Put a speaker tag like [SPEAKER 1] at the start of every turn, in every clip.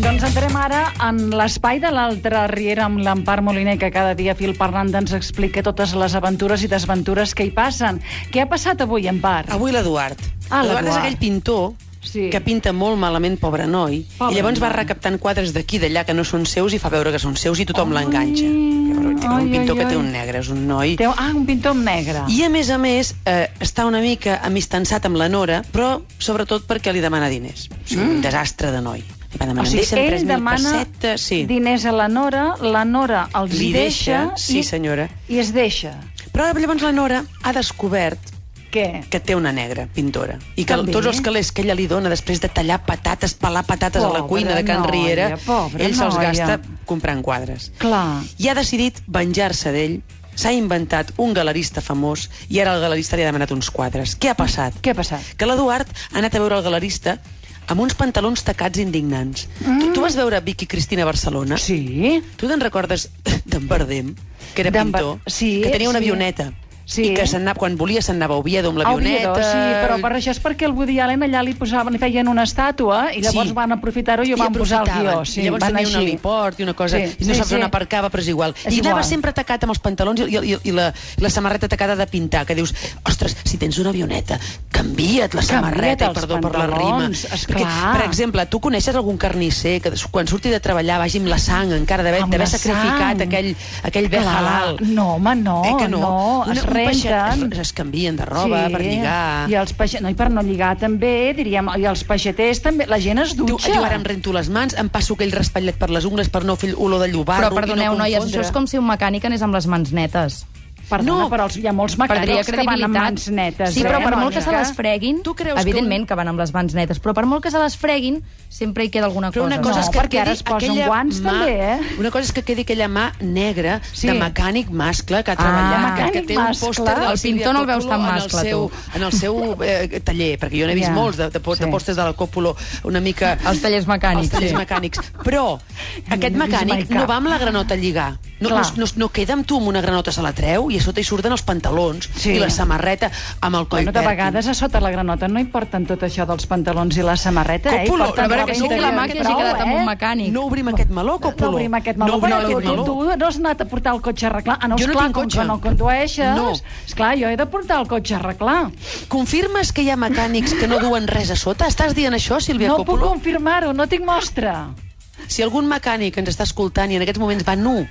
[SPEAKER 1] Doncs entrem ara en l'espai de l'altra Riera amb l'Empar Moliner, que cada dia fil parlant ens explica totes les aventures i desventures que hi passen. Què ha passat avui, Empar?
[SPEAKER 2] Avui l'Eduard.
[SPEAKER 1] Ah,
[SPEAKER 2] L'Eduard és
[SPEAKER 1] l'Eduard.
[SPEAKER 2] aquell pintor
[SPEAKER 1] Sí.
[SPEAKER 2] que pinta molt malament, pobre noi,
[SPEAKER 1] Pobre
[SPEAKER 2] i llavors va
[SPEAKER 1] noi.
[SPEAKER 2] recaptant quadres d'aquí d'allà que no són seus i fa veure que són seus i tothom
[SPEAKER 1] Ai.
[SPEAKER 2] l'enganxa. Llavors, té
[SPEAKER 1] Ai,
[SPEAKER 2] Un pintor
[SPEAKER 1] ai,
[SPEAKER 2] que té
[SPEAKER 1] ai.
[SPEAKER 2] un negre, és un noi...
[SPEAKER 1] Té... Ah, un pintor en negre.
[SPEAKER 2] I, a més a més, eh, està una mica amistançat amb la Nora, però sobretot perquè li demana diners. O sigui, un desastre de noi. Li va
[SPEAKER 1] Mm. O
[SPEAKER 2] demanar,
[SPEAKER 1] sigui,
[SPEAKER 2] "Em deixen
[SPEAKER 1] ell
[SPEAKER 2] 3.000
[SPEAKER 1] demana
[SPEAKER 2] pessetes", sí.
[SPEAKER 1] diners a la Nora, la Nora els
[SPEAKER 2] Li
[SPEAKER 1] hi deixa,
[SPEAKER 2] deixa, sí,
[SPEAKER 1] i,
[SPEAKER 2] senyora.
[SPEAKER 1] i es deixa.
[SPEAKER 2] Però llavors la Nora ha descobert
[SPEAKER 1] Què?
[SPEAKER 2] que té una negra, pintora, i que
[SPEAKER 1] També.
[SPEAKER 2] També. tots els calés que ella li dona després de tallar patates, pelar patates a la
[SPEAKER 1] Pobra
[SPEAKER 2] cuina de Can
[SPEAKER 1] noia,
[SPEAKER 2] Riera,
[SPEAKER 1] pobra
[SPEAKER 2] ell se'ls
[SPEAKER 1] noia.
[SPEAKER 2] gasta comprant quadres.
[SPEAKER 1] Clar.
[SPEAKER 2] I ha decidit venjar-se d'ell, s'ha inventat un galerista famós i ara el galerista li ha demanat uns quadres. Què ha passat?
[SPEAKER 1] Què ha passat?
[SPEAKER 2] Que l'Eduard ha anat a veure el galerista amb uns pantalons tacats indignants. Mm. Tu, tu vas veure Vicky Cristina a Barcelona?
[SPEAKER 1] Sí.
[SPEAKER 2] Tu te'n recordes d'en Verdem, que era
[SPEAKER 1] D'en
[SPEAKER 2] pintor,
[SPEAKER 1] Ver- sí,
[SPEAKER 2] que tenia una
[SPEAKER 1] sí.
[SPEAKER 2] avioneta?
[SPEAKER 1] Sí.
[SPEAKER 2] I que s'anava, quan volia s'anava a Oviedo amb l'avioneta.
[SPEAKER 1] Oviedo, sí, però per això és perquè el Woody Allen allà li posaven, li feien una estàtua i llavors
[SPEAKER 2] Sí.
[SPEAKER 1] van aprofitar-ho i ho van posar al guió.
[SPEAKER 2] aprofitaven.
[SPEAKER 1] Sí,
[SPEAKER 2] I llavors
[SPEAKER 1] van
[SPEAKER 2] tenia un
[SPEAKER 1] així.
[SPEAKER 2] heliport i una cosa...
[SPEAKER 1] Sí,
[SPEAKER 2] Sí, i no
[SPEAKER 1] sí,
[SPEAKER 2] saps
[SPEAKER 1] sí.
[SPEAKER 2] on aparcava, però és igual.
[SPEAKER 1] És
[SPEAKER 2] I anava
[SPEAKER 1] igual.
[SPEAKER 2] sempre tacat amb els pantalons i, i, i, i la, la samarreta tacada de pintar, que dius, ostres, si tens una avioneta, canvia't la
[SPEAKER 1] Canvia't
[SPEAKER 2] samarreta,
[SPEAKER 1] els
[SPEAKER 2] i perdó per la rima.
[SPEAKER 1] pantalons, esclar.
[SPEAKER 2] Perquè, per exemple, tu coneixes algun carnisser que des- quan surti de treballar vagi amb la sang, encara d'haver
[SPEAKER 1] Amb
[SPEAKER 2] d'haver
[SPEAKER 1] la
[SPEAKER 2] sacrificat
[SPEAKER 1] sang.
[SPEAKER 2] aquell, aquell bé
[SPEAKER 1] Clar.
[SPEAKER 2] halal.
[SPEAKER 1] No, home, no,
[SPEAKER 2] eh, que no,
[SPEAKER 1] no, es
[SPEAKER 2] un peixet-
[SPEAKER 1] renten.
[SPEAKER 2] Es, es canvien de roba per lligar.
[SPEAKER 1] I els peix... no, i per no lligar també, diríem, i els peixaters també, la gent es
[SPEAKER 2] Diu,
[SPEAKER 1] dutxa.
[SPEAKER 2] jo ara em rento les mans, em passo aquell raspallet per les ungles per no fer olor de llobarro
[SPEAKER 3] Però
[SPEAKER 2] i
[SPEAKER 3] perdoneu,
[SPEAKER 2] no
[SPEAKER 3] noies,
[SPEAKER 2] confondre.
[SPEAKER 3] això és com si un mecànic anés amb les mans netes.
[SPEAKER 1] Perdona, no.
[SPEAKER 2] No.
[SPEAKER 1] però els, hi ha molts
[SPEAKER 3] Perdria
[SPEAKER 1] mecànics que van amb
[SPEAKER 3] credibilitat.
[SPEAKER 1] mans netes.
[SPEAKER 3] sí, però
[SPEAKER 1] eh,
[SPEAKER 3] per molt
[SPEAKER 1] Mònica?
[SPEAKER 3] que se les freguin,
[SPEAKER 2] Tu creus que un-
[SPEAKER 3] evidentment que, van amb les mans netes, però per molt que se les freguin, sempre hi queda alguna
[SPEAKER 2] Però una cosa
[SPEAKER 3] cosa.
[SPEAKER 1] No,
[SPEAKER 2] és que
[SPEAKER 1] perquè
[SPEAKER 2] quedi
[SPEAKER 1] ara es posen
[SPEAKER 2] aquella
[SPEAKER 1] guants,
[SPEAKER 2] mà,
[SPEAKER 1] també, eh?
[SPEAKER 2] Una cosa és que quedi aquella mà negra
[SPEAKER 1] Sí.
[SPEAKER 2] sí. de mecànic mascle que ha treballat,
[SPEAKER 1] mecànic
[SPEAKER 2] que té un
[SPEAKER 1] mascle.
[SPEAKER 2] pòster del
[SPEAKER 3] El pintor no el
[SPEAKER 2] Silvia
[SPEAKER 3] veus tan
[SPEAKER 2] Coppolo
[SPEAKER 3] mascle,
[SPEAKER 2] en el seu, En el seu eh, taller, perquè jo n'he vist
[SPEAKER 1] Ja.
[SPEAKER 2] molts de, de, po-
[SPEAKER 1] Sí.
[SPEAKER 2] de pòsters de la Còpolo una mica...
[SPEAKER 3] Els tallers mecànics,
[SPEAKER 2] Els tallers
[SPEAKER 3] sí.
[SPEAKER 2] mecànics. Però
[SPEAKER 1] vist
[SPEAKER 2] aquest
[SPEAKER 1] mai
[SPEAKER 2] mecànic
[SPEAKER 1] cap.
[SPEAKER 2] no va amb la granota a lligar. No, no,
[SPEAKER 1] Clar.
[SPEAKER 2] no, no queda amb tu amb una granota, se la treu i a sota hi surten els pantalons
[SPEAKER 1] Sí.
[SPEAKER 2] i la samarreta amb el coll
[SPEAKER 1] Bueno, de
[SPEAKER 2] pèrfid.
[SPEAKER 1] vegades a sota la granota no hi porten tot això dels pantalons i la samarreta, eh? Hi
[SPEAKER 2] Copulo,
[SPEAKER 1] porten
[SPEAKER 3] a veure, que
[SPEAKER 1] roba
[SPEAKER 3] sí que la
[SPEAKER 1] interior
[SPEAKER 3] mà que hagi
[SPEAKER 1] prou,
[SPEAKER 3] quedat amb
[SPEAKER 1] eh?
[SPEAKER 3] un mecànic.
[SPEAKER 2] No obrim aquest meló, Còpolo.
[SPEAKER 1] No obrim aquest meló.
[SPEAKER 2] No obrim
[SPEAKER 1] tu,
[SPEAKER 2] aquest
[SPEAKER 1] tu,
[SPEAKER 2] meló.
[SPEAKER 1] tu no has anat a portar el cotxe a arreglar. Ah, no,
[SPEAKER 2] Jo no
[SPEAKER 1] esclar,
[SPEAKER 2] tinc
[SPEAKER 1] com que
[SPEAKER 2] cotxe.
[SPEAKER 1] no el condueixes,
[SPEAKER 2] No.
[SPEAKER 1] esclar, jo he de portar el cotxe a arreglar.
[SPEAKER 2] Confirmes que hi ha mecànics que no duen res a sota? Estàs dient això, Sílvia
[SPEAKER 1] no puc
[SPEAKER 2] Coppola?
[SPEAKER 1] confirmar-ho, no tinc mostra.
[SPEAKER 2] Si algun mecànic ens està escoltant i en aquests moments va nu,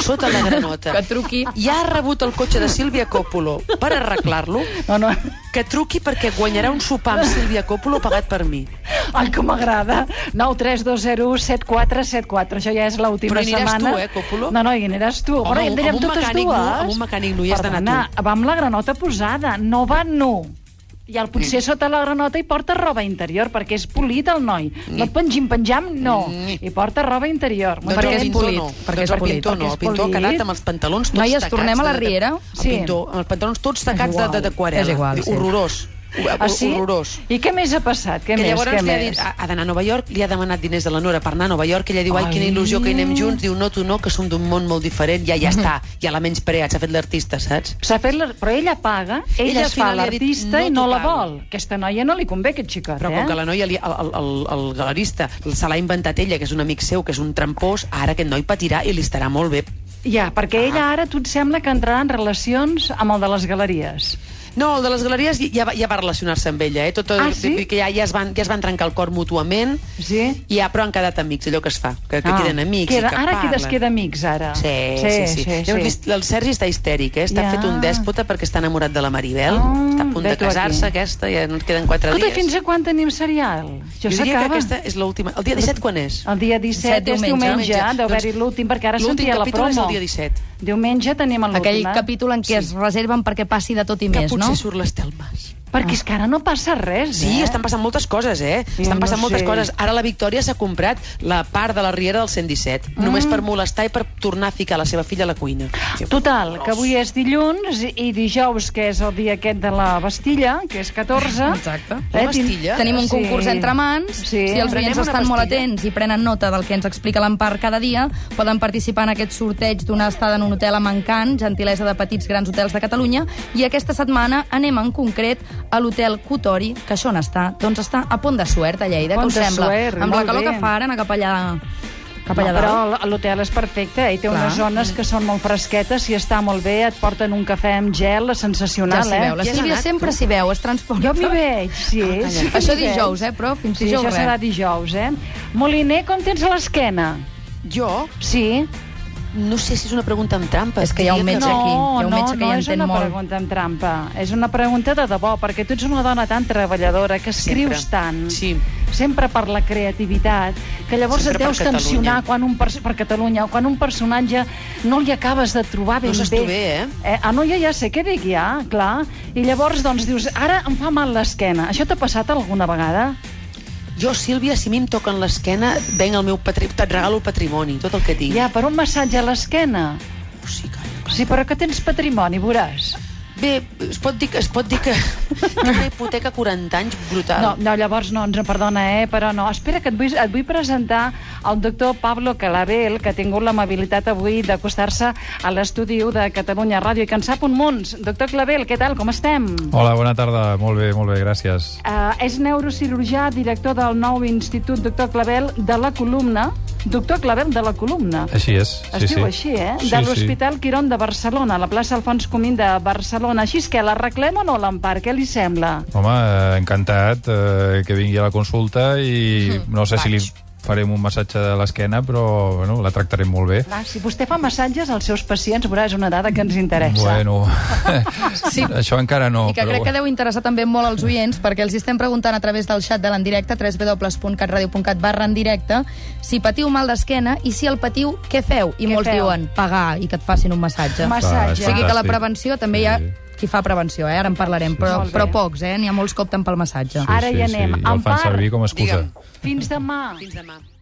[SPEAKER 2] sota la granota,
[SPEAKER 3] Que truqui.
[SPEAKER 2] ja ha rebut el cotxe de Sílvia Coppolo per arreglar-lo,
[SPEAKER 1] No, no.
[SPEAKER 2] que truqui perquè guanyarà un sopar amb Sílvia Coppolo pagat per mi.
[SPEAKER 1] Ai, com m'agrada. 9 3 2 0 7 4 7 4. Això ja és l'última
[SPEAKER 2] Però hi aniràs
[SPEAKER 1] setmana.
[SPEAKER 2] tu, eh, Còpolo?
[SPEAKER 1] No, no, hi aniràs tu.
[SPEAKER 2] Home,
[SPEAKER 1] Però hi
[SPEAKER 2] amb
[SPEAKER 1] anirem
[SPEAKER 2] un
[SPEAKER 1] totes
[SPEAKER 2] mecànic nu-
[SPEAKER 1] dues.
[SPEAKER 2] amb un mecànic nu hi has d'anar
[SPEAKER 1] Perdona, va amb la granota posada, no va nu. I el,
[SPEAKER 2] Mm.
[SPEAKER 1] potser sota la granota hi porta roba interior, perquè és polit el noi. No et pengim penjam, no. I porta roba interior.
[SPEAKER 2] Doncs
[SPEAKER 3] Perquè
[SPEAKER 2] el
[SPEAKER 3] és
[SPEAKER 2] pintor
[SPEAKER 3] polit,
[SPEAKER 2] Mm. No.
[SPEAKER 3] perquè
[SPEAKER 2] Perquè
[SPEAKER 3] és
[SPEAKER 2] doncs el
[SPEAKER 3] polit,
[SPEAKER 2] pintor no.
[SPEAKER 1] perquè
[SPEAKER 2] El
[SPEAKER 1] és
[SPEAKER 2] pintor que ha
[SPEAKER 1] polit.
[SPEAKER 2] anat amb els pantalons tots
[SPEAKER 3] Noies,
[SPEAKER 2] tacats.
[SPEAKER 3] tornem a la
[SPEAKER 2] de- de-
[SPEAKER 3] Riera?
[SPEAKER 2] El
[SPEAKER 1] Sí.
[SPEAKER 2] pintor, amb els pantalons tots
[SPEAKER 1] És
[SPEAKER 2] tacats de-
[SPEAKER 1] igual,
[SPEAKER 2] de- d'aquarel·la.
[SPEAKER 3] és igual, sí.
[SPEAKER 2] Horrorós.
[SPEAKER 1] Ah, sí?
[SPEAKER 2] Horrorós.
[SPEAKER 1] I què més ha passat? Què
[SPEAKER 2] que
[SPEAKER 1] més?
[SPEAKER 2] llavors
[SPEAKER 1] què
[SPEAKER 2] li ha
[SPEAKER 1] més?
[SPEAKER 2] dit, "Ah, ha ha d'anar a Nova York, li ha demanat diners de la Nora per anar a Nova York, i ella diu, ai, quina il·lusió que hi anem junts, diu, no, tu no, que som d'un món molt diferent, ja ja està, ja la menys preat, s'ha fet l'artista, saps?
[SPEAKER 1] S'ha fet la... Però ella paga, ella,
[SPEAKER 2] Ella al
[SPEAKER 1] es fa
[SPEAKER 2] final li ha dit,
[SPEAKER 1] l'artista
[SPEAKER 2] "No
[SPEAKER 1] i no
[SPEAKER 2] t'ho
[SPEAKER 1] la
[SPEAKER 2] pago".
[SPEAKER 1] vol. Aquesta noia no li convé, aquest xicot,
[SPEAKER 2] Però
[SPEAKER 1] eh?
[SPEAKER 2] com que la noia, li, el, el, el, el galerista, se l'ha inventat ella, que és un amic seu, que és un trampós, ara aquest noi patirà i li estarà molt bé.
[SPEAKER 1] Ja, perquè ella
[SPEAKER 2] Ah.
[SPEAKER 1] ara a tu et sembla que entrarà en relacions amb el de les galeries.
[SPEAKER 2] No, el de les galeries ja va, ja va relacionar-se amb ella, eh? Tot,
[SPEAKER 1] Ah, sí?
[SPEAKER 2] Que ja, ja, es van, ja es van trencar el cor mútuament,
[SPEAKER 1] Sí?
[SPEAKER 2] i ja, però han quedat amics, allò que es fa, que, que queden amics
[SPEAKER 1] Ah. queda,
[SPEAKER 2] i que
[SPEAKER 1] ara
[SPEAKER 2] parlen.
[SPEAKER 1] Ara es queda amics, ara.
[SPEAKER 2] Sí, sí, sí. sí, sí. Llavors, vist- el Sergi està histèric, eh? Està
[SPEAKER 1] Ja.
[SPEAKER 2] ja. fet un dèspota perquè està enamorat de la Maribel.
[SPEAKER 1] Ah,
[SPEAKER 2] està a punt
[SPEAKER 1] ve
[SPEAKER 2] de
[SPEAKER 1] tu aquí.
[SPEAKER 2] casar-se, aquesta, ja no ens queden quatre
[SPEAKER 1] Escolta,
[SPEAKER 2] dies.
[SPEAKER 1] fins a quan tenim serial? Jo,
[SPEAKER 2] Jo diria que
[SPEAKER 1] s'acaba.
[SPEAKER 2] aquesta és l'última. El dia 17 quan és?
[SPEAKER 1] El dia 17,
[SPEAKER 3] Set,
[SPEAKER 1] és
[SPEAKER 3] diumenge.
[SPEAKER 1] diumenge, eh?
[SPEAKER 2] Diumenge.
[SPEAKER 1] deu haver-hi
[SPEAKER 2] Doncs
[SPEAKER 1] l'últim, perquè ara
[SPEAKER 2] l'últim
[SPEAKER 1] sentia la
[SPEAKER 2] capítol
[SPEAKER 1] promo.
[SPEAKER 2] és el dia 17.
[SPEAKER 1] Diumenge tenim l'últim.
[SPEAKER 3] Aquell
[SPEAKER 1] eh?
[SPEAKER 3] capítol en què es reserven perquè passi de tot i
[SPEAKER 2] Que
[SPEAKER 3] més,
[SPEAKER 2] potser
[SPEAKER 3] no?
[SPEAKER 2] surt l'Estel Mas.
[SPEAKER 1] Perquè és que ara no passa res,
[SPEAKER 2] Sí,
[SPEAKER 1] eh?
[SPEAKER 2] estan passant moltes coses, eh?
[SPEAKER 1] Jo
[SPEAKER 2] estan
[SPEAKER 1] no
[SPEAKER 2] passant moltes
[SPEAKER 1] sé.
[SPEAKER 2] coses. Ara la Victòria s'ha comprat la part de la Riera del 117, només
[SPEAKER 1] Mm.
[SPEAKER 2] per molestar i per tornar a ficar la seva filla a la cuina.
[SPEAKER 1] Total, que avui és dilluns i i dijous, que és el dia aquest de la Bastilla, que és 14.
[SPEAKER 3] Exacte.
[SPEAKER 2] La
[SPEAKER 1] tin-
[SPEAKER 2] Bastilla?
[SPEAKER 3] Tenim
[SPEAKER 1] Sí.
[SPEAKER 3] un concurs entre mans.
[SPEAKER 1] Sí.
[SPEAKER 3] Si els
[SPEAKER 2] Prenem
[SPEAKER 3] oients
[SPEAKER 2] una
[SPEAKER 3] estan molt
[SPEAKER 2] pastilla.
[SPEAKER 3] atents i prenen nota del que ens explica l'Empar cada dia, poden participar en aquest sorteig d'una estada en un hotel a Mancant, gentilesa de petits grans hotels de Catalunya, i aquesta setmana anem en concret a l'hotel Cotori, que això on està? Doncs està a Pont de Suert, a Lleida,
[SPEAKER 1] Pont
[SPEAKER 3] que us
[SPEAKER 1] de
[SPEAKER 3] sembla?
[SPEAKER 1] Suert,
[SPEAKER 3] Amb la
[SPEAKER 1] molt
[SPEAKER 3] calor
[SPEAKER 1] bé.
[SPEAKER 3] que fa ara, anar cap allà, cap allà
[SPEAKER 1] no, però
[SPEAKER 3] dalt.
[SPEAKER 1] l- l'hotel és perfecte, eh? i té
[SPEAKER 3] Clar.
[SPEAKER 1] unes zones que són molt fresquetes, si està molt bé, et porten un cafè amb gel, és
[SPEAKER 3] Ja
[SPEAKER 1] sensacional,
[SPEAKER 3] s'hi veu, la
[SPEAKER 2] Hi has
[SPEAKER 3] Sílvia
[SPEAKER 2] anat,
[SPEAKER 3] sempre s'hi veu, es
[SPEAKER 1] eh?
[SPEAKER 3] transporta.
[SPEAKER 1] Jo m'hi veig, sí.
[SPEAKER 2] Ah,
[SPEAKER 1] sí que
[SPEAKER 3] Això
[SPEAKER 1] m'hi veig.
[SPEAKER 3] dijous, eh, però fins
[SPEAKER 1] Sí,
[SPEAKER 3] dijous,
[SPEAKER 1] això
[SPEAKER 3] res.
[SPEAKER 1] serà dijous, eh? Moliner, com tens a l'esquena?
[SPEAKER 2] Jo
[SPEAKER 1] Sí?
[SPEAKER 2] no sé si és una pregunta amb trampa.
[SPEAKER 3] És que hi ha un
[SPEAKER 2] Diria
[SPEAKER 3] metge
[SPEAKER 1] no,
[SPEAKER 3] aquí, hi ha un
[SPEAKER 1] no,
[SPEAKER 3] metge que
[SPEAKER 1] no
[SPEAKER 3] hi
[SPEAKER 1] és
[SPEAKER 3] entén
[SPEAKER 1] una
[SPEAKER 3] molt.
[SPEAKER 1] pregunta amb trampa. És una pregunta de debò, perquè tu ets una dona tan treballadora, que escrius
[SPEAKER 2] Sempre.
[SPEAKER 1] tant,
[SPEAKER 2] Sí.
[SPEAKER 1] sempre per la creativitat, que llavors
[SPEAKER 2] Sempre
[SPEAKER 1] et deus
[SPEAKER 2] per Catalunya.
[SPEAKER 1] tensionar quan un pers- per Catalunya, quan un personatge no li acabes de trobar ben
[SPEAKER 2] No saps
[SPEAKER 1] bé.
[SPEAKER 2] tu bé, eh?
[SPEAKER 1] eh? Ah, no, ja, ja sé què dic, ja, clar. I llavors, doncs, dius, ara em fa mal l'esquena. Això t'ha passat alguna vegada?
[SPEAKER 2] Jo, Sílvia, si a mi em toquen l'esquena, venc el meu patrimoni, et regalo el patrimoni, tot el que tinc.
[SPEAKER 1] Ja, per un massatge a l'esquena?
[SPEAKER 2] Oh, sí, calla.
[SPEAKER 1] Sí, però que tens patrimoni, veuràs.
[SPEAKER 2] Bé, es pot dir que, es pot dir que tinc una hipoteca 40 anys brutal.
[SPEAKER 1] No, no, llavors no, ens perdona, eh, però no. Espera, que et vull, et vull presentar el doctor Pablo Calabel, que ha tingut l'amabilitat avui d'acostar-se a l'estudi u de Catalunya Ràdio i que en sap un munt. Doctor Calabel, què tal, com estem?
[SPEAKER 4] Hola, bona tarda. Molt bé, molt bé, gràcies.
[SPEAKER 1] Uh, és neurocirurgià, director del nou Institut Doctor Clavel de la Columna. Doctor Clavel de la Columna.
[SPEAKER 4] Així és.
[SPEAKER 1] Es
[SPEAKER 4] Eh, sí,
[SPEAKER 1] diu
[SPEAKER 4] sí.
[SPEAKER 1] així, eh?
[SPEAKER 4] Sí,
[SPEAKER 1] de l'Hospital Quirón de Barcelona, a la plaça Alfons Comín de Barcelona. Així és que l'arreglem o no, l'Empar? Què li sembla?
[SPEAKER 4] Sí. Home, eh, encantat eh, que vingui a la consulta i
[SPEAKER 3] Hmm.
[SPEAKER 4] no sé si li farem un massatge de l'esquena, però bueno, la tractarem molt bé.
[SPEAKER 1] Clar, si vostè fa massatges als seus pacients, veurà, és una dada que ens interessa.
[SPEAKER 4] Bueno, sí. això encara no.
[SPEAKER 3] I que
[SPEAKER 4] però
[SPEAKER 3] crec que deu interessar també molt als oients, perquè els hi estem preguntant a través del xat de l'endirecte, www.catradio.cat barra en directe, si patiu mal d'esquena i si el patiu, què feu? I
[SPEAKER 1] Què
[SPEAKER 3] molts
[SPEAKER 1] feu?
[SPEAKER 3] diuen pagar i que et facin un massatge.
[SPEAKER 1] Mas-
[SPEAKER 4] Clar, és
[SPEAKER 1] O
[SPEAKER 3] o sigui que la
[SPEAKER 4] fantàstic.
[SPEAKER 3] prevenció també hi ha qui fa prevenció, eh? ara en parlarem, però,
[SPEAKER 1] Molt bé.
[SPEAKER 3] però pocs, eh? n'hi ha molts que opten pel massatge.
[SPEAKER 1] Ara hi anem.
[SPEAKER 4] Sí, sí, I el fan
[SPEAKER 1] Empar.
[SPEAKER 4] servir com a excusa.
[SPEAKER 2] Digue'm.
[SPEAKER 1] Fins demà.
[SPEAKER 2] Fins demà.